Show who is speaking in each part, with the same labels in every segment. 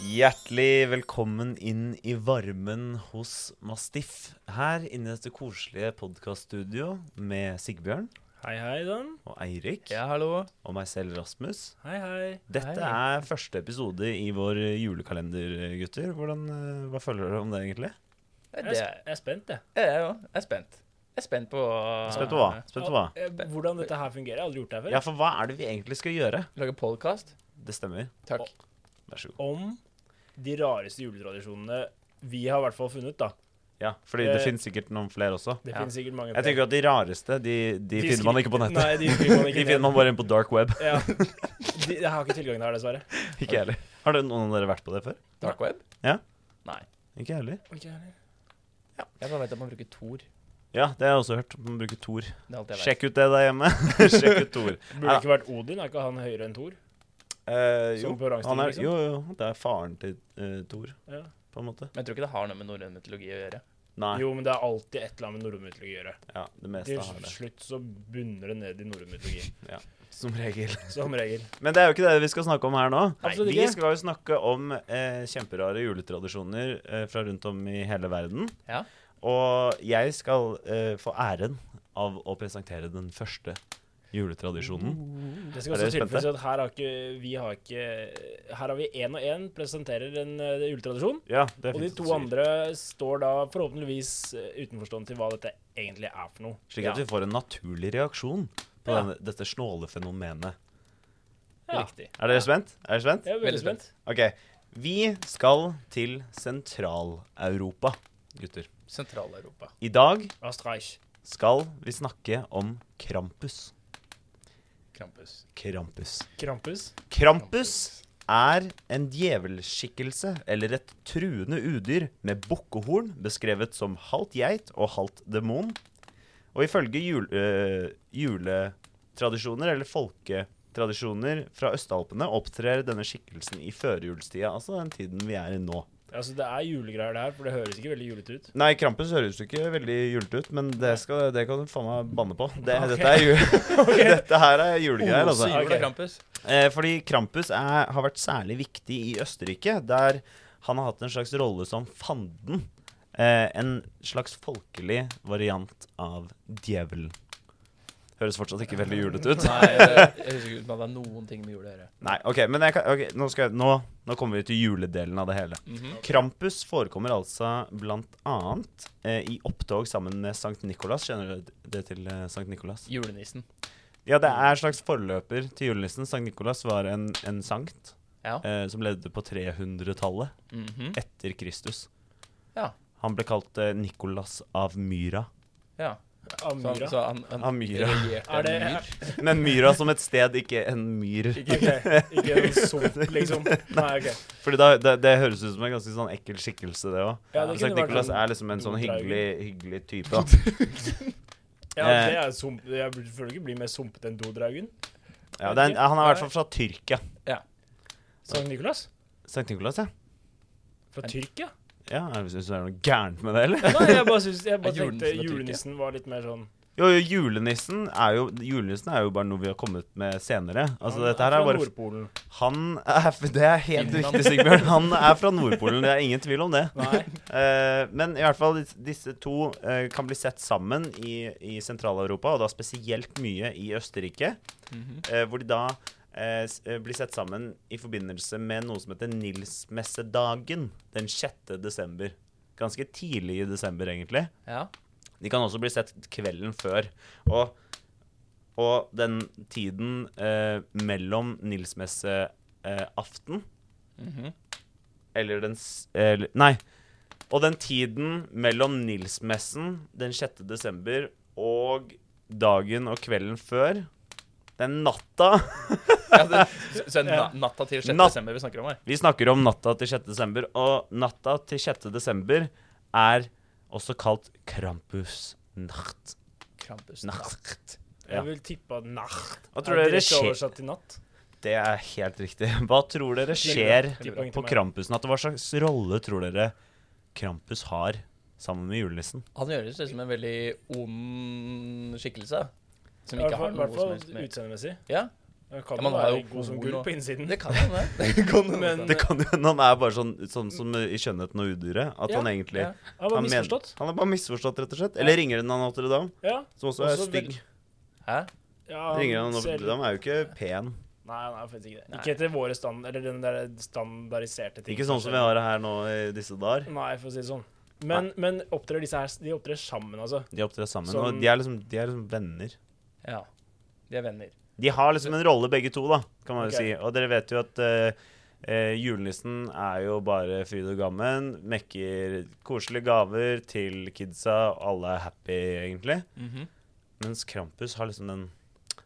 Speaker 1: Hjertelig velkommen inn i varmen hos Mastiff. Her inne i dette koselige podkaststudio med Sigbjørn
Speaker 2: Hei, hei, Dan.
Speaker 1: og Eirik
Speaker 3: Ja, hallo.
Speaker 1: og meg selv, Rasmus.
Speaker 2: Hei, hei.
Speaker 1: Dette
Speaker 3: Hei.
Speaker 1: er første episode i vår julekalender, gutter. Hvordan, eh, hva føler dere om det, egentlig?
Speaker 2: Jeg
Speaker 3: Det
Speaker 2: er,
Speaker 3: er
Speaker 2: sp- jeg er spent, jeg.
Speaker 3: jeg er jo- jeg er spent. Jeg er spent på å
Speaker 1: Spent på hva? Spent på hva?
Speaker 2: Eh, Hvordan dette her fungerer. Jeg har aldri gjort det her før.
Speaker 1: Ja, for hva er det vi egentlig skal gjøre?
Speaker 3: lage podkast.
Speaker 1: Det stemmer.
Speaker 3: Takk.
Speaker 1: Vær så god.
Speaker 2: Om de rareste juletradisjonene vi har i hvert fall funnet, da.
Speaker 1: Ja, fordi det
Speaker 2: Eh,
Speaker 1: finnes sikkert noen flere også.
Speaker 2: Det
Speaker 3: Ja.
Speaker 2: finnes sikkert mange
Speaker 1: Jeg tenker at de rareste, de, de finner man ikke på nettet.
Speaker 2: Nei, de finner man
Speaker 1: De
Speaker 2: ikke
Speaker 1: finner man bare inn på dark web.
Speaker 2: Ja. De, jeg har ikke tilgang til her, dessverre.
Speaker 1: Ikke jeg heller. Har det- noen av dere vært på det før?
Speaker 3: Dark web?
Speaker 1: Ja.
Speaker 3: Nei.
Speaker 1: Ikke jeg heller.
Speaker 3: Jeg bare vet at man bruker Tor.
Speaker 1: Ja, det har jeg også hørt. Man bruker Tor.
Speaker 3: Det er alt jeg vet.
Speaker 1: Sjekk ut det der hjemme. Sjekk ut Tor.
Speaker 2: Burde det ikke vært Odin? Er ikke han høyere enn Thor?
Speaker 1: Eh, jo,
Speaker 2: Som på rangstigen,
Speaker 1: han er,
Speaker 2: liksom?
Speaker 1: jo, jo, det er faren til uh, Tor,
Speaker 2: Ja.
Speaker 1: på en måte.
Speaker 3: Men jeg tror ikke det har noe med norrøn mytologi å gjøre.
Speaker 1: Nei,
Speaker 2: Jo, men det er alltid et eller annet med norrøn mytologi å gjøre.
Speaker 1: ja, det meste har
Speaker 2: Til
Speaker 1: det.
Speaker 2: slutt så bunner det ned i norrøn mytologi.
Speaker 1: Som regel.
Speaker 2: Som regel.
Speaker 1: Men det er jo ikke det vi skal snakke om her nå.
Speaker 2: Absolutt
Speaker 1: vi
Speaker 2: ikke.
Speaker 1: skal jo snakke om eh, kjemperare juletradisjoner eh, fra rundt om i hele verden.
Speaker 3: Ja.
Speaker 1: Og jeg skal eh, få æren av å presentere den første juletradisjonen.
Speaker 2: Uh. Det skal
Speaker 1: Er
Speaker 2: også
Speaker 1: dere spente?
Speaker 2: tilføyes at her har ikke vi har ikke Her har vi én og én presenterer en eh, juletradisjon.
Speaker 1: Ja, det er
Speaker 2: Og de
Speaker 1: fint
Speaker 2: to
Speaker 1: at du sier.
Speaker 2: andre står da forhåpentligvis eh, utenforstående til hva dette egentlig er for noe.
Speaker 1: Slik at vi
Speaker 3: Ja.
Speaker 1: får en naturlig reaksjon på
Speaker 2: Ja.
Speaker 1: denne, dette snåle fenomenet.
Speaker 2: Ja.
Speaker 3: Riktig.
Speaker 1: Er dere spent? Er dere spent?
Speaker 2: Jeg er veldig
Speaker 3: Veldig
Speaker 2: spent.
Speaker 1: Ok. Vi skal til Sentral-Europa, gutter.
Speaker 3: Sentral-Europa.
Speaker 1: I dag
Speaker 2: Astreich.
Speaker 1: skal vi snakke om Krampus.
Speaker 3: Krampus.
Speaker 1: Krampus.
Speaker 2: Krampus.
Speaker 1: Krampus er en djevelskikkelse eller et truende udyr med bukkehorn beskrevet som halvt geit og halvt demon. Og ifølge jul, øh, juletradisjoner eller folketradisjoner fra Østalpene opptrer denne skikkelsen i førjulstida, altså den tiden vi er i nå.
Speaker 2: Altså, det er julegreier det her, for det høres ikke veldig julete ut.
Speaker 1: Nei, Krampus høres jo ikke veldig julete ut, men det, skal, det kan du faen meg banne på. Det,
Speaker 2: Ah, Ok. Oh,
Speaker 1: dette, er jul, dette her er julegreier,
Speaker 3: Ose
Speaker 1: altså.
Speaker 3: jula
Speaker 2: Ok.
Speaker 3: Krampus.
Speaker 1: Eh, fordi Krampus er, har vært særlig viktig i Østerrike, der han har hatt en slags rolle som fanden. Eh, en slags folkelig variant av djevelen. Høres fortsatt ikke veldig julete ut.
Speaker 3: Nei, jeg, jeg husker ikke om det hadde noen ting med jul å gjøre.
Speaker 1: Nei, ok, men jeg kan, ok, nå, skal jeg, nå, nå kommer vi til juledelen av det hele.
Speaker 3: Mhm.
Speaker 1: Krampus forekommer altså blant annet eh, i opptog sammen med Sankt Nikolas. Kjenner du det til eh, Sankt Nikolas?
Speaker 3: Julenissen.
Speaker 1: Ja, det er en slags forløper til julenissen. Sankt Nikolas var en, en sankt
Speaker 3: Ja.
Speaker 1: eh, som levde på 300-tallet.
Speaker 3: Mhm.
Speaker 1: etter Kristus.
Speaker 3: Ja.
Speaker 1: Han ble kalt eh, Nikolas av Myra.
Speaker 3: ja. Så han,
Speaker 2: Amura.
Speaker 3: så han, han
Speaker 1: Av myra.
Speaker 3: regjerte
Speaker 2: Er det
Speaker 3: en myr.
Speaker 1: Men Myra som et sted, ikke en myr.
Speaker 2: Ikke, ikke en sump, liksom. Nei, OK.
Speaker 1: Fordi da, det, det høres ut som en ganske sånn ekkel skikkelse, det òg.
Speaker 2: Ja, det kunne
Speaker 1: Sankt
Speaker 2: vært
Speaker 1: Nikolas
Speaker 2: en
Speaker 1: er liksom en sånn
Speaker 2: bloddreier.
Speaker 1: hyggelig, hyggelig type. Da.
Speaker 2: Ja, det
Speaker 1: eh,
Speaker 2: er sump. Jeg burde- føler ikke bli mer sumpete enn dodraugen.
Speaker 1: Ja, det er, en- han er i hvert fall fra Tyrkia.
Speaker 2: Sankt Nikolas?
Speaker 1: Sankt Nikolas, ja.
Speaker 2: Fra Tyrkia?
Speaker 1: ja Syns du det er noe gærent med det, eller?
Speaker 2: Nei, jeg bare, synes, jeg bare
Speaker 3: Er
Speaker 2: tenkte
Speaker 3: julenissen fra Tyrkia?
Speaker 2: julenissen var litt mer sånn
Speaker 1: Jo, jo, julenissen er jo, julenissen er jo bare noe vi har kommet med senere. Altså,
Speaker 2: Han
Speaker 1: dette her
Speaker 2: fra
Speaker 1: er bare
Speaker 2: Nordpolen.
Speaker 1: Han er Det er helt
Speaker 3: Finland.
Speaker 1: riktig, Sigbjørn. Han er fra Nordpolen. Det er ingen tvil om det.
Speaker 2: Nei.
Speaker 1: Eh, men i hvert fall dis- disse to eh, kan bli sett sammen i, i Sentral-Europa, og da spesielt mye i Østerrike,
Speaker 3: Mhm.
Speaker 1: eh, hvor de da eh, s- eh, blir sett sammen i forbindelse med noe som heter Nilsmessedagen den 6. desember. Ganske tidlig i desember, egentlig.
Speaker 3: Ja.
Speaker 1: De kan også bli sett kvelden før. Og, og den tiden eh, mellom Nilsmesseaften
Speaker 3: Mhm.
Speaker 1: eller den s- eller, Nei. Og den tiden mellom Nilsmessen den 6. desember og dagen og kvelden før Den natta
Speaker 3: ja det, så- så
Speaker 2: Ja.
Speaker 3: na, natta til 6.
Speaker 1: Natt-
Speaker 3: desember vi snakker om her.
Speaker 1: Vi snakker om natta til 6. desember, og natta til 6. desember er også kalt Krampusnacht.
Speaker 3: Krampus.
Speaker 1: Nacht. Ja.
Speaker 2: Jeg vil tippe at nacht
Speaker 1: Hva
Speaker 2: er
Speaker 1: tror dere
Speaker 2: direkte
Speaker 1: skjer?
Speaker 2: oversatt til natt.
Speaker 1: Det er helt riktig. Hva tror dere skjer
Speaker 2: Ti poeng til
Speaker 1: på
Speaker 2: meg.
Speaker 1: Krampusnatt? Hva slags rolle tror dere Krampus har sammen med julenissen?
Speaker 3: Han høres ut som en veldig ond skikkelse. Som
Speaker 2: I hvert fall-
Speaker 3: ikke har
Speaker 2: i
Speaker 3: noe
Speaker 2: hvert
Speaker 3: som
Speaker 2: fall
Speaker 3: helst med
Speaker 2: utseendemessig.
Speaker 3: Ja,
Speaker 2: Det kan
Speaker 3: Ja,
Speaker 2: jo
Speaker 3: man har
Speaker 2: være
Speaker 3: jo
Speaker 2: god som
Speaker 3: horn
Speaker 2: gull
Speaker 3: og-
Speaker 2: på innsiden.
Speaker 3: Det kan hende. Det kan hende.
Speaker 2: Men-
Speaker 1: Det kan jo hende han er bare sånn, sånn som i 'Skjønnheten og udyret'. At
Speaker 2: Ja,
Speaker 1: han egentlig
Speaker 3: ja.
Speaker 2: Ja, bare
Speaker 1: han, men-
Speaker 2: misforstått.
Speaker 1: han er bare misforstått, rett og slett. Eller ringeren han Notre Dame,
Speaker 2: Ja.
Speaker 1: som også er
Speaker 2: Også
Speaker 1: stygg.
Speaker 3: Hæ?
Speaker 2: ja
Speaker 1: Ringeren han Notre
Speaker 2: ser-
Speaker 1: Dame er jo ikke pen.
Speaker 2: Nei, han er faktisk ikke det.
Speaker 3: Nei.
Speaker 2: Ikke etter våre stand... Eller den der standardiserte ting.
Speaker 1: Ikke sånn som vi har det her nå i disse dager.
Speaker 2: Nei, for å si det sånn. Men, men opptrer disse her De opptrer sammen, altså.
Speaker 1: De opptrer sammen,
Speaker 2: Som-
Speaker 1: og de er, liksom, de er liksom venner.
Speaker 3: Ja. De er venner.
Speaker 1: De har liksom en rolle begge to, da, kan man jo
Speaker 2: Ok.
Speaker 1: si. Og dere vet jo at eh, eh, julenissen er jo bare fryd og gammen. Mekker koselige gaver til kidsa. Alle er happy, egentlig.
Speaker 3: Mhm.
Speaker 1: Mens Krampus har liksom den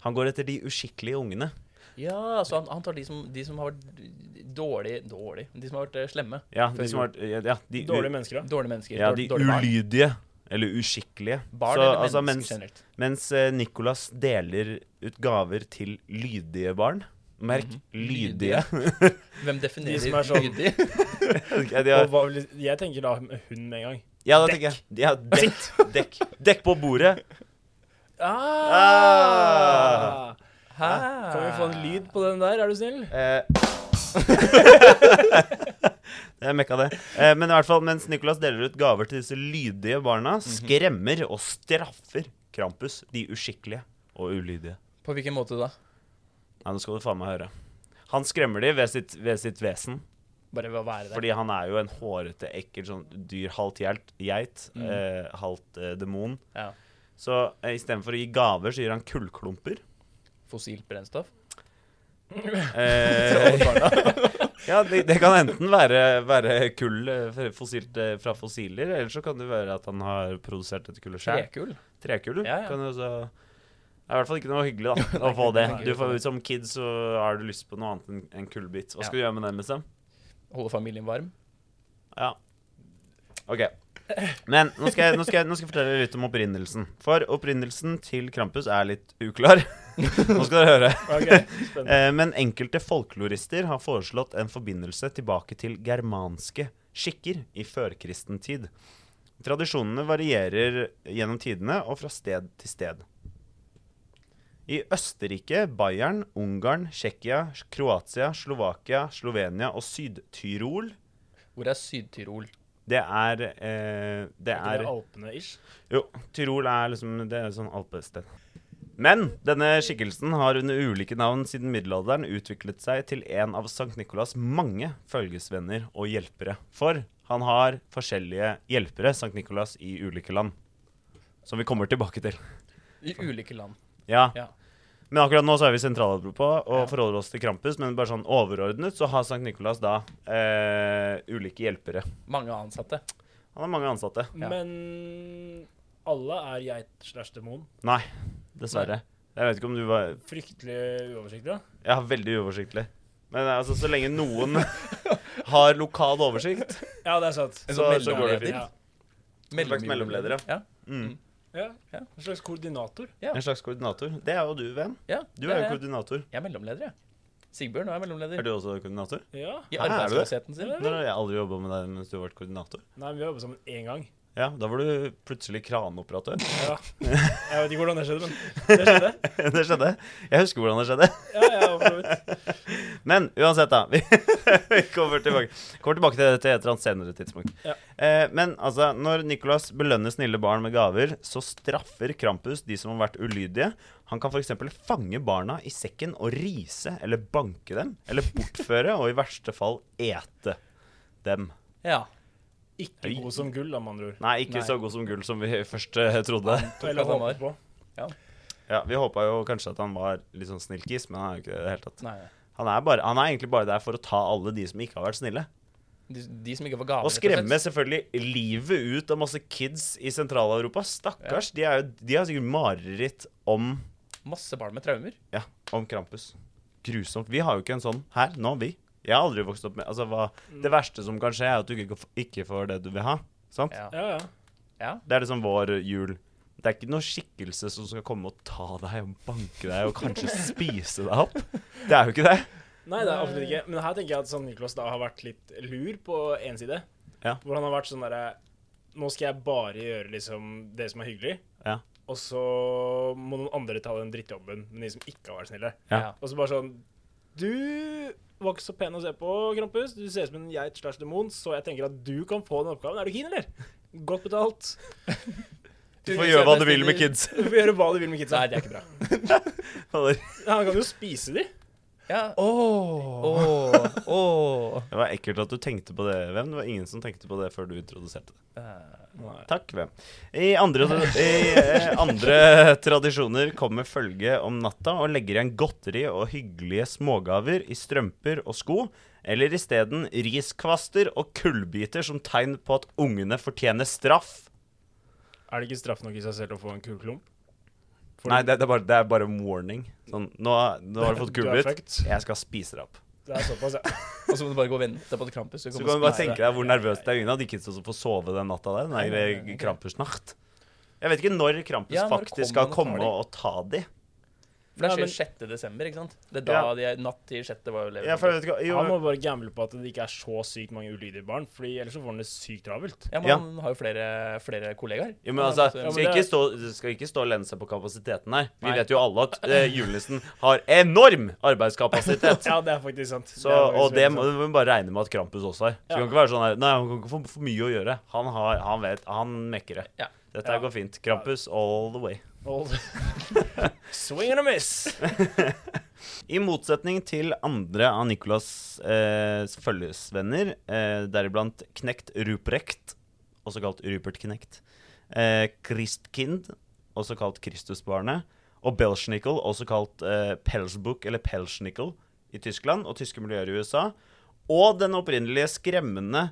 Speaker 1: Han går etter de uskikkelige ungene.
Speaker 3: Ja, så han, han tar de som, de som har vært dårlig Dårlig De som har vært eh, slemme.
Speaker 1: Ja,
Speaker 3: Før
Speaker 1: de som har ja, de, u-
Speaker 2: Dårlige mennesker, da.
Speaker 3: Dårlige mennesker.
Speaker 1: ja,
Speaker 3: dår-
Speaker 1: de
Speaker 3: dårlige barn.
Speaker 1: ulydige. Eller uskikkelige.
Speaker 3: Barn
Speaker 1: Så,
Speaker 3: eller
Speaker 1: altså,
Speaker 3: mennesker
Speaker 1: mens,
Speaker 3: generelt.
Speaker 1: mens eh, Nicolas deler ut gaver til lydige barn Merk
Speaker 3: Mhm.
Speaker 1: lydige.
Speaker 3: Hvem definerer
Speaker 2: De som er sånn-
Speaker 3: lydig?
Speaker 1: ja, de har,
Speaker 2: Og hva vil, jeg tenker da hun med en gang.
Speaker 1: Ja, da tenker jeg. Ja, dekk. dekk. Dekk på bordet. Ah!
Speaker 3: Hæ?
Speaker 2: Kan vi få en lyd på den der, er du snill?
Speaker 1: Eh. jeg mekka det. Eh, men i hvert fall, mens Nicolas deler ut gaver til disse lydige barna, skremmer og straffer Krampus de uskikkelige og ulydige.
Speaker 3: På hvilken måte da?
Speaker 1: Nei, nå skal du faen meg høre. Han skremmer de ved sitt, ved sitt vesen,
Speaker 2: Bare ved å være der.
Speaker 1: fordi han er jo en hårete, ekkel sånn dyr, halvt geit, geit eh, halvt eh, demon.
Speaker 3: Ja.
Speaker 1: Så eh, istedenfor å gi gaver, så gir han kullklumper.
Speaker 3: Fossilt brennstoff?
Speaker 1: Eh, Ja, det, det kan enten være, være kull eh, fra- fossilt, eh, fra fossiler, eller så kan det være at han har produsert dette kullet sjøl.
Speaker 3: Trekull?
Speaker 1: Trekull
Speaker 3: Ja, ja.
Speaker 1: kan jo så Det er i hvert fall ikke noe hyggelig da, å få det.
Speaker 3: Nei.
Speaker 1: Du får, som kid så har du lyst på noe annet enn en kullbit. Hva skal du gjøre med den, liksom?
Speaker 3: Holde familien varm?
Speaker 1: Ja. OK. Men nå skal, jeg, nå, skal jeg, nå skal jeg fortelle litt om opprinnelsen. For opprinnelsen til Krampus er litt uklar. Nå skal dere høre.
Speaker 2: Ok, spennende.
Speaker 1: Eh, Men enkelte folklorister har foreslått en forbindelse tilbake til germanske skikker i førkristen tid. Tradisjonene varierer gjennom tidene og fra sted til sted. I Østerrike, Bayern, Ungarn, Tsjekkia, Kroatia, Slovakia, Slovenia og Syd-Tyrol
Speaker 3: Hvor er Syd-Tyrol?
Speaker 1: det er, eh, det
Speaker 2: Er
Speaker 1: er
Speaker 2: det Alpene-ish?
Speaker 1: jo, Tyrol er liksom det er sånn alpested. Men denne skikkelsen har under ulike navn siden middelalderen utviklet seg til en av Sankt Nikolas mange følgesvenner og hjelpere. For han har forskjellige hjelpere, Sankt Nikolas, i ulike land. Som vi kommer tilbake til.
Speaker 3: I ulike land.
Speaker 1: Ja.
Speaker 3: Ja.
Speaker 1: Men akkurat nå så er vi i Sentral-Europa og forholder oss til Krampus. Men bare sånn overordnet så har Sankt Nikolas da eh, ulike hjelpere.
Speaker 3: Mange ansatte.
Speaker 1: Han har mange ansatte.
Speaker 3: Ja.
Speaker 2: Men alle er geit slash demon.
Speaker 1: Nei, dessverre. Jeg vet ikke om du var
Speaker 2: Fryktelig uoversiktlig. da.
Speaker 1: Ja, veldig uoversiktlig. Men altså, så lenge noen har lokal oversikt
Speaker 2: Ja, det er sant.
Speaker 3: En
Speaker 1: Så-
Speaker 3: sånn
Speaker 1: så går det
Speaker 3: mellomleder.
Speaker 1: fint.
Speaker 2: Ja.
Speaker 1: slags mellomleder,
Speaker 3: ja.
Speaker 1: mm.
Speaker 2: Ja. En slags koordinator.
Speaker 3: Ja.
Speaker 1: En slags koordinator. Det er jo du, VM.
Speaker 3: ja.
Speaker 1: Du
Speaker 3: det
Speaker 1: er jo
Speaker 3: jeg.
Speaker 1: koordinator.
Speaker 3: Jeg er mellomleder, jeg. Sigbjørn nå er jeg
Speaker 1: Er
Speaker 3: mellomleder.
Speaker 1: du også koordinator?
Speaker 2: Ja.
Speaker 3: I
Speaker 1: Hæ, er du det?
Speaker 3: arbeidsløsheten sin.
Speaker 1: Nå har jeg aldri jobba med deg mens du har vært koordinator.
Speaker 2: Nei, men vi har jobbet sammen én gang.
Speaker 1: Ja, Da var du plutselig kranoperatør.
Speaker 2: Ja. Jeg vet ikke hvordan det skjedde, men det skjedde.
Speaker 1: det skjedde. Jeg husker hvordan det skjedde.
Speaker 2: Ja, ja, for så vidt.
Speaker 1: Men uansett, da. Vi vi kommer tilbake, kommer tilbake til dette etter et senere tidspunkt.
Speaker 2: Ja.
Speaker 1: Eh, men altså, når Nicolas belønner snille barn med gaver, så straffer Krampus de som har vært ulydige. Han kan f.eks. fange barna i sekken og rise eller banke dem. Eller bortføre og i verste fall ete dem.
Speaker 3: Ja.
Speaker 2: Ikke god som gull, da, med andre ord.
Speaker 1: Nei, ikke
Speaker 3: Nei.
Speaker 1: så god som gull som vi først eh, trodde.
Speaker 2: Eller
Speaker 3: at han
Speaker 2: håper på.
Speaker 1: Ja, Vi håpa jo kanskje at han var litt sånn snillkis, men han er jo ikke det i det hele tatt.
Speaker 3: Nei.
Speaker 1: Han er, bare, han er egentlig bare der for å ta alle de som ikke har vært snille.
Speaker 3: De, de som ikke får gaver.
Speaker 1: Og skremme selvfølgelig livet ut av masse kids i Sentral-Europa. Stakkars. De, er jo, de har sikkert mareritt om,
Speaker 3: Masse barn med traumer.
Speaker 1: ja, om Krampus. Grusomt. Vi har jo ikke en sånn her nå, vi. Jeg har aldri vokst opp med altså, hva, Det verste som kan skje, er at du ikke, ikke får det du vil ha. Sant?
Speaker 3: Ja.
Speaker 2: Ja, ja.
Speaker 1: Det er liksom vår jul. Det er ikke noen skikkelse som skal komme og ta deg og banke deg og kanskje spise deg opp. Det er jo ikke det.
Speaker 2: Nei, det er absolutt ikke. Men her tenker jeg at Sankt Niklas da har vært litt lur på én side.
Speaker 1: Ja.
Speaker 2: Hvor han har vært sånn derre Nå skal jeg bare gjøre liksom det som er hyggelig.
Speaker 1: Ja.
Speaker 2: og så må noen andre ta den drittjobben, men de som ikke har vært snille.
Speaker 1: Ja.
Speaker 2: Og så bare sånn Du var ikke så pen å se på, Krampus. Du ser ut som en geit slash demon, så jeg tenker at du kan få den oppgaven. Er du keen, eller? Godt betalt.
Speaker 1: Du får gjøre hva du vil med kids.
Speaker 2: Du får gjøre hva du vil med kidsa.
Speaker 3: Nei, det er ikke bra.
Speaker 1: Det
Speaker 2: Han kan jo spise de.
Speaker 3: Ja.
Speaker 2: Oh.
Speaker 3: Åh, åh.
Speaker 1: var ekkelt at du tenkte på det, Hvem. Det var ingen som tenkte på det før du introduserte det.
Speaker 3: Eh,
Speaker 1: Takk, Hvem. I andre, i, eh, andre tradisjoner kommer følget om natta og legger igjen godteri og hyggelige smågaver i strømper og sko, eller isteden riskvaster og kullbiter som tegn på at ungene fortjener straff.
Speaker 2: Er det ikke straff nok i seg selv å få en kul klump? For
Speaker 1: Nei, det, det, er bare, det er bare en warning. Sånn, nå, nå har du fått
Speaker 2: Du er
Speaker 1: kullbit.
Speaker 2: fucked.
Speaker 1: Jeg skal spise deg opp.
Speaker 2: Det er såpass, ja.
Speaker 3: Og så må du bare gå og vente på at Krampus skal
Speaker 1: Så
Speaker 3: komme
Speaker 1: kan du
Speaker 3: og
Speaker 1: bare
Speaker 3: spise
Speaker 1: tenke
Speaker 3: deg.
Speaker 1: deg hvor nervøst det er ingen av de kidsa som får sove den natta der. Den der krampusnacht. Jeg vet ikke når Krampus
Speaker 3: Ja, når
Speaker 1: faktisk skal
Speaker 3: kommer han og tar
Speaker 1: komme og
Speaker 3: de?
Speaker 1: ta de.
Speaker 3: For det
Speaker 2: Ja,
Speaker 3: skjer
Speaker 2: men-
Speaker 3: 6. desember, ikke sant? Det er da
Speaker 1: Ja.
Speaker 3: de er natt til 6. var jo
Speaker 1: Ja, for jeg vet ikke,
Speaker 2: Han må
Speaker 1: jo,
Speaker 2: bare gamble på at det ikke er så sykt mange ulydige barn, Fordi ellers så får han det sykt travelt.
Speaker 3: Ja, men
Speaker 1: Ja.
Speaker 3: han har jo flere, flere kollegaer.
Speaker 1: jo, men altså,
Speaker 3: Ja, men
Speaker 1: skal
Speaker 2: det-
Speaker 1: ikke stå, skal ikke stå og lene seg på kapasiteten her. Vi
Speaker 3: Nei.
Speaker 1: vet jo alle at eh, julenissen har enorm arbeidskapasitet.
Speaker 2: Ja, det er faktisk sant.
Speaker 1: Så,
Speaker 2: Det er faktisk
Speaker 1: og det
Speaker 2: veldig
Speaker 1: må
Speaker 2: sant.
Speaker 1: vi må bare regne med at Krampus også har. Så
Speaker 2: Ja.
Speaker 1: det kan ikke være sånn her, Nei, han kan ikke få for mye å gjøre. Han, har, han vet, han mekker det.
Speaker 3: Ja.
Speaker 1: Dette
Speaker 2: Ja.
Speaker 1: her går fint. Krampus all the way.
Speaker 2: Hold- Swing and a miss.
Speaker 1: I motsetning til andre av Nicolas eh, følgesvenner, eh, deriblant Knekt Ruprecht, også kalt Rupert Knekt, eh, Christkind, også kalt Kristusbarnet, og Belschnickel, også kalt eh, Pelsbuch eller Pelschnickel i Tyskland og tyske miljøer i USA, og den opprinnelige skremmende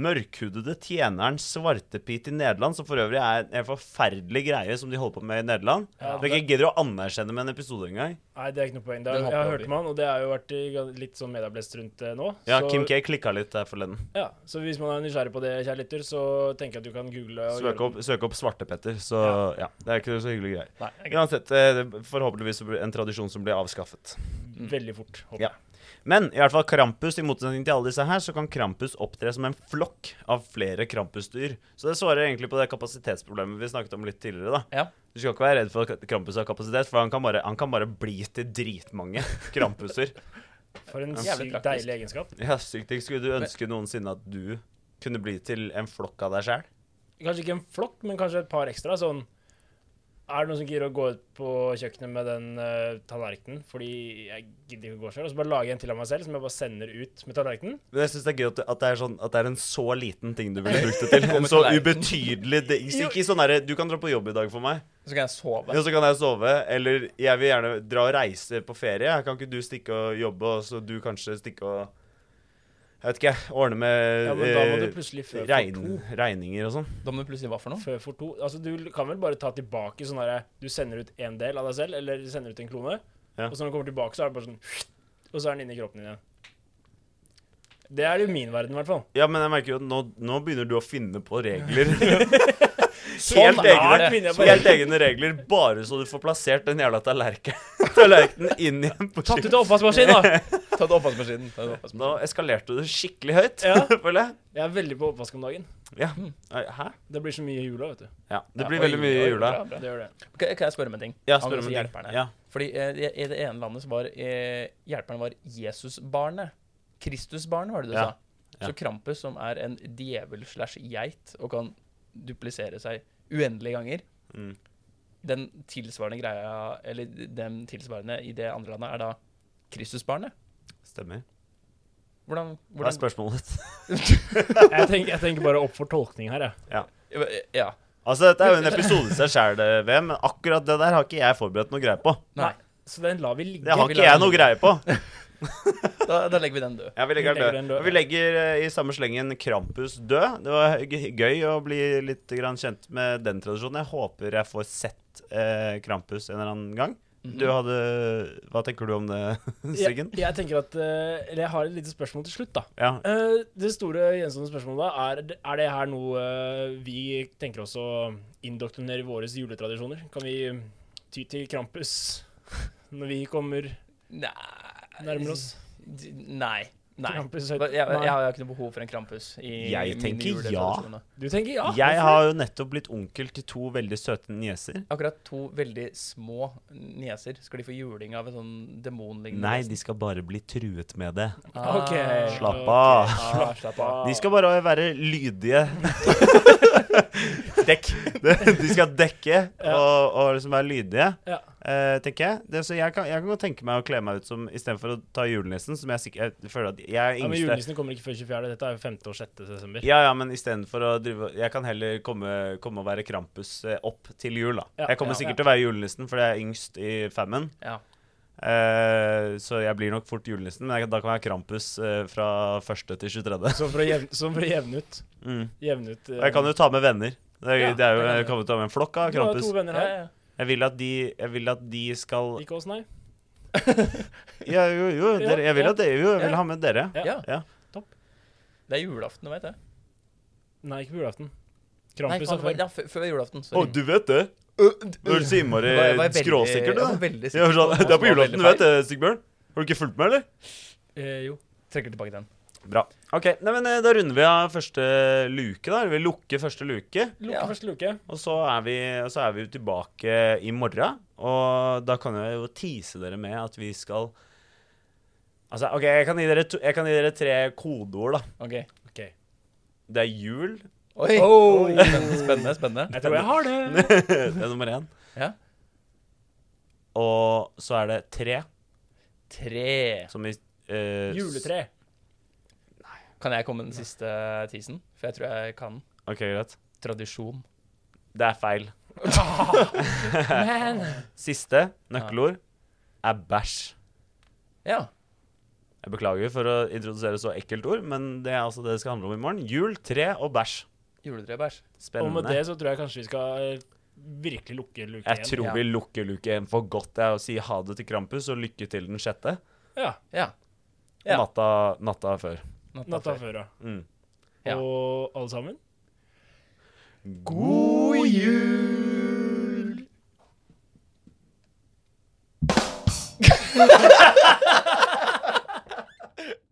Speaker 1: mørkhudede tjeneren Svartepit i Nederland, som for øvrig er en forferdelig greie som de holder på med i Nederland.
Speaker 2: Ja,
Speaker 1: som jeg ikke gidder å anerkjenne med en episode engang.
Speaker 2: Nei, det er ikke noe poeng. Det
Speaker 3: Den
Speaker 2: er, jeg
Speaker 3: hopper
Speaker 2: har
Speaker 3: over.
Speaker 2: hørt med han, og det har jo vært i ga- litt sånn medieblest rundt eh, nå.
Speaker 1: Ja,
Speaker 2: så,
Speaker 1: Kim K klikka litt der forleden.
Speaker 2: Ja, så hvis man er nysgjerrig på det, kjære lytter, så tenker jeg at du kan google. og
Speaker 1: Søk
Speaker 2: gjøre-
Speaker 1: opp, søk opp Svartepetter, så ja. Det er ikke så hyggelige greier.
Speaker 3: Nei, det er ikke-
Speaker 1: Uansett, eh, det- forhåpentligvis så blir det en tradisjon som blir avskaffet.
Speaker 2: Veldig fort. håper
Speaker 1: Ja.
Speaker 2: jeg.
Speaker 1: Men i hvert fall Krampus, i motsetning til alle disse her, så kan Krampus opptre som en flokk av flere Krampusdyr. Så det svarer egentlig på det kapasitetsproblemet vi snakket om litt tidligere, da.
Speaker 3: ja.
Speaker 1: Du skal ikke være redd for at Krampus har kapasitet, for han kan bare, han kan bare bli til dritmange Krampuser.
Speaker 2: For en sykt
Speaker 3: Jævlig praktisk.
Speaker 2: deilig egenskap.
Speaker 1: Ja, sykt ting. Skulle du ønske noensinne at du kunne bli til en flokk av deg sjæl?
Speaker 2: Kanskje ikke en flokk, men kanskje et par ekstra. Sånn Er det noen som gidder å gå ut på kjøkkenet med den eh, tallerkenen? Fordi jeg gidder ikke å gå selv Og så bare lager jeg en til av meg selv som jeg bare sender ut med tallerkenen.
Speaker 1: Men jeg syns det er gøy at det, at, det er sånn, at det er en så liten ting du ville brukt det til. En så ubetydelig det, ikke, ikke sånn herre Du kan dra på jobb i dag for meg,
Speaker 3: Så kan jeg sove.
Speaker 1: og så kan jeg sove. Eller jeg vil gjerne dra og reise på ferie. Kan ikke du stikke og jobbe, og så du kanskje stikke og Jeg vet ikke, jeg. Ordne med
Speaker 2: Ja, men da må du
Speaker 1: eh,
Speaker 2: plutselig fø for
Speaker 1: regn,
Speaker 2: to.
Speaker 1: regninger og sånn.
Speaker 3: Da må du plutselig hva for noe?
Speaker 2: Fø for to. Altså, du kan vel bare ta tilbake sånn herre Du sender ut en del av deg selv, eller du sender ut en klone,
Speaker 1: Ja.
Speaker 2: og så når den kommer tilbake, så er det bare sånn Og så er den inni kroppen din igjen. Det er det i min verden, i hvert fall.
Speaker 1: Ja, men jeg merker jo at nå, nå begynner du å finne på regler.
Speaker 3: Sånn
Speaker 1: Helt
Speaker 3: er
Speaker 1: egne,
Speaker 3: det.
Speaker 2: begynner jeg på
Speaker 1: helt egne regler, bare så du får plassert den jævla tallerken- tallerkenen inn igjen. på
Speaker 2: Tatt ut av oppvaskmaskinen, da!
Speaker 3: Ta det oppvaskmaskinen. Ta det oppvaskmaskinen.
Speaker 1: Nå eskalerte du det skikkelig høyt,
Speaker 2: Ja.
Speaker 1: føler jeg.
Speaker 2: Jeg er veldig på oppvask om dagen.
Speaker 1: Ja. Hæ?
Speaker 2: Det blir så mye i jula, vet du.
Speaker 1: Ja, det
Speaker 3: Ja,
Speaker 1: blir
Speaker 3: oi,
Speaker 1: veldig mye i
Speaker 3: oi,
Speaker 1: jula.
Speaker 3: bra, bra.
Speaker 2: Det gjør det.
Speaker 3: Kan kan jeg spørre om en ting?
Speaker 1: Ja,
Speaker 3: Han
Speaker 1: spør om
Speaker 3: som
Speaker 1: en
Speaker 3: hjelperne.
Speaker 1: ting. Ja.
Speaker 3: Fordi eh, i det ene landet så var eh, hjelperen var Jesusbarnet. Kristusbarnet, var det du
Speaker 1: Ja.
Speaker 3: sa.
Speaker 1: Ja.
Speaker 3: Så Krampus, som er en djevel slash geit og kan duplisere seg uendelige ganger
Speaker 1: Mm.
Speaker 3: Den tilsvarende greia, eller den tilsvarende i det andre landet, er da Kristusbarnet.
Speaker 1: Stemmer.
Speaker 3: Hvordan,
Speaker 1: Hva er
Speaker 3: hvordan
Speaker 1: spørsmålet ditt?
Speaker 2: Jeg tenker, jeg tenker bare opp for tolkning her, jeg.
Speaker 3: Ja.
Speaker 1: Altså, Dette er jo en episode i seg sjæl, VM, men akkurat det der har ikke jeg forberedt noe greie på.
Speaker 3: Nei.
Speaker 2: Så den lar vi ligge.
Speaker 1: Det har
Speaker 3: vi
Speaker 1: ikke
Speaker 3: lar
Speaker 1: jeg
Speaker 3: den
Speaker 1: noe
Speaker 3: ligge.
Speaker 1: greie på.
Speaker 3: Da, da legger vi den død.
Speaker 1: Ja, vi legger
Speaker 2: Vi legger
Speaker 1: den
Speaker 2: den
Speaker 1: død.
Speaker 2: død,
Speaker 1: Og vi legger eh, i samme slengen Krampus død. Det var g- gøy å bli litt grann kjent med den tradisjonen. Jeg håper jeg får sett eh, Krampus en eller annen gang.
Speaker 3: Mhm.
Speaker 1: Du hadde Hva tenker du om det,
Speaker 2: Jeg,
Speaker 1: Siggen?
Speaker 2: jeg tenker at eh, Eller jeg har et lite spørsmål til slutt, da.
Speaker 1: Ja.
Speaker 2: Eh, det store gjenstående spørsmålet da, er, er det her noe eh, vi tenker oss å indoktrinere i våre juletradisjoner? Kan vi ty til Krampus når vi kommer
Speaker 3: Nei
Speaker 2: nærmere oss?
Speaker 3: D- Nei. Nei.
Speaker 2: Krampus,
Speaker 3: Jeg, jeg, jeg, har ikke noe behov for en Krampus. I
Speaker 1: Jeg
Speaker 3: mine
Speaker 1: tenker ja.
Speaker 3: juletradisjoner.
Speaker 2: Du tenker ja?
Speaker 1: Jeg har jo nettopp blitt onkel til to veldig søte nieser.
Speaker 3: Akkurat to veldig små nieser. Skal de få juling av en sånn demonlignende
Speaker 1: Nei, de skal bare bli truet med det.
Speaker 3: Ah,
Speaker 2: Ok.
Speaker 1: Slapp av.
Speaker 3: ah, slapp av.
Speaker 1: De skal bare være lydige.
Speaker 3: Dekk.
Speaker 1: De skal dekke
Speaker 2: Ja.
Speaker 1: og, og liksom være lydige,
Speaker 2: Ja.
Speaker 1: eh, tenker jeg. Det, så jeg kan, jeg kan godt tenke meg å kle meg ut som Istedenfor å ta julenissen, som jeg sikkert jeg føler at jeg er
Speaker 2: Ja, men
Speaker 1: yngste.
Speaker 2: Julenissen kommer ikke før 24. Dette er jo 5. og 6. desember.
Speaker 1: Ja, ja, men istedenfor å drive Jeg kan heller komme, komme og være Krampus eh, opp til jul, da.
Speaker 2: Ja,
Speaker 1: jeg kommer
Speaker 3: ja,
Speaker 1: sikkert til å være julenissen, for jeg er yngst i femmen.
Speaker 3: Ja.
Speaker 1: Eh, så jeg blir nok fort julenissen, men jeg, da kan jeg være Krampus eh, fra første til 23.
Speaker 2: Sånn for å jevne, sånn for å jevne ut.
Speaker 1: Mm.
Speaker 2: Jevne ut eh,
Speaker 1: Og jeg kan jo ta med venner. Det, er-
Speaker 3: Ja,
Speaker 1: det er jo,
Speaker 3: det kan
Speaker 1: jeg
Speaker 3: du.
Speaker 1: kan jo ta med en flokk av
Speaker 2: Du har jo
Speaker 1: Krampus.
Speaker 2: to venner
Speaker 3: Ja,
Speaker 2: her.
Speaker 3: ja.
Speaker 1: Jeg vil at de, jeg vil at de skal
Speaker 2: Ikke oss, nei.
Speaker 1: ja, Jo, jo,
Speaker 2: Ja,
Speaker 1: dere, jeg vil
Speaker 2: ja.
Speaker 1: at dere jo, jeg
Speaker 3: Ja.
Speaker 1: vil ha med dere.
Speaker 2: Ja.
Speaker 3: ja.
Speaker 1: Ja.
Speaker 3: Det er julaften, du vet det.
Speaker 2: Nei, ikke på julaften.
Speaker 3: Nei,
Speaker 2: Krampus er
Speaker 3: faen, det var-
Speaker 2: før.
Speaker 3: ja, før. Før julaften.
Speaker 1: Å, du vet det? Du er så innmari skråsikker, du.
Speaker 3: da.
Speaker 1: da.
Speaker 3: Veldig
Speaker 1: Jeg var
Speaker 3: sikker på
Speaker 1: sånn, Det er
Speaker 3: hva som
Speaker 1: på
Speaker 3: var
Speaker 1: julaften,
Speaker 3: veldig
Speaker 1: du vet
Speaker 3: feil.
Speaker 1: det, Sigbjørn? Har du ikke fulgt med, eller?
Speaker 2: Eh, jo.
Speaker 3: Trekker tilbake den.
Speaker 1: Bra. Ok, nei, men eh, Da runder vi av første luke. da Vi lukker første luke.
Speaker 2: Lukke
Speaker 3: Ja.
Speaker 2: første luke.
Speaker 1: Og så er vi, og så er vi jo tilbake i morgen. Og da kan jeg jo tease dere med at vi skal Altså, OK, jeg kan gi dere, to, jeg kan gi dere tre kodeord, da.
Speaker 3: Ok.
Speaker 2: OK.
Speaker 1: Det er jul.
Speaker 3: Oi!
Speaker 2: Oh.
Speaker 3: Spennende, spennende.
Speaker 2: Jeg tror jeg har det.
Speaker 1: det er nummer én.
Speaker 3: Ja.
Speaker 1: Og så er det tre,
Speaker 3: Tre.
Speaker 1: som i eh,
Speaker 2: Juletre.
Speaker 3: Kan jeg komme med den siste teasen? For jeg tror jeg kan.
Speaker 1: OK, greit.
Speaker 3: Tradisjon.
Speaker 1: Det er feil.
Speaker 2: Men
Speaker 1: Siste nøkkelord er bæsj.
Speaker 3: Ja.
Speaker 1: Jeg beklager for å introdusere så ekkelt ord, men det er altså det det skal handle om i morgen. Jul, tre og bæsj.
Speaker 3: Juletrebæsj.
Speaker 2: Og med
Speaker 1: Spennende.
Speaker 2: det så tror jeg kanskje vi skal eh, virkelig lukke luke
Speaker 1: Jeg
Speaker 2: én.
Speaker 1: tror
Speaker 3: Ja.
Speaker 1: vi lukker luke én for godt jeg, og sier ha det til Krampus og lykke til den sjette.
Speaker 2: Ja.
Speaker 3: Ja.
Speaker 1: og
Speaker 3: Ja.
Speaker 1: Natta, natta før.
Speaker 2: Natta før, ja.
Speaker 1: Mm.
Speaker 3: Ja.
Speaker 2: Og alle sammen.
Speaker 1: God jul!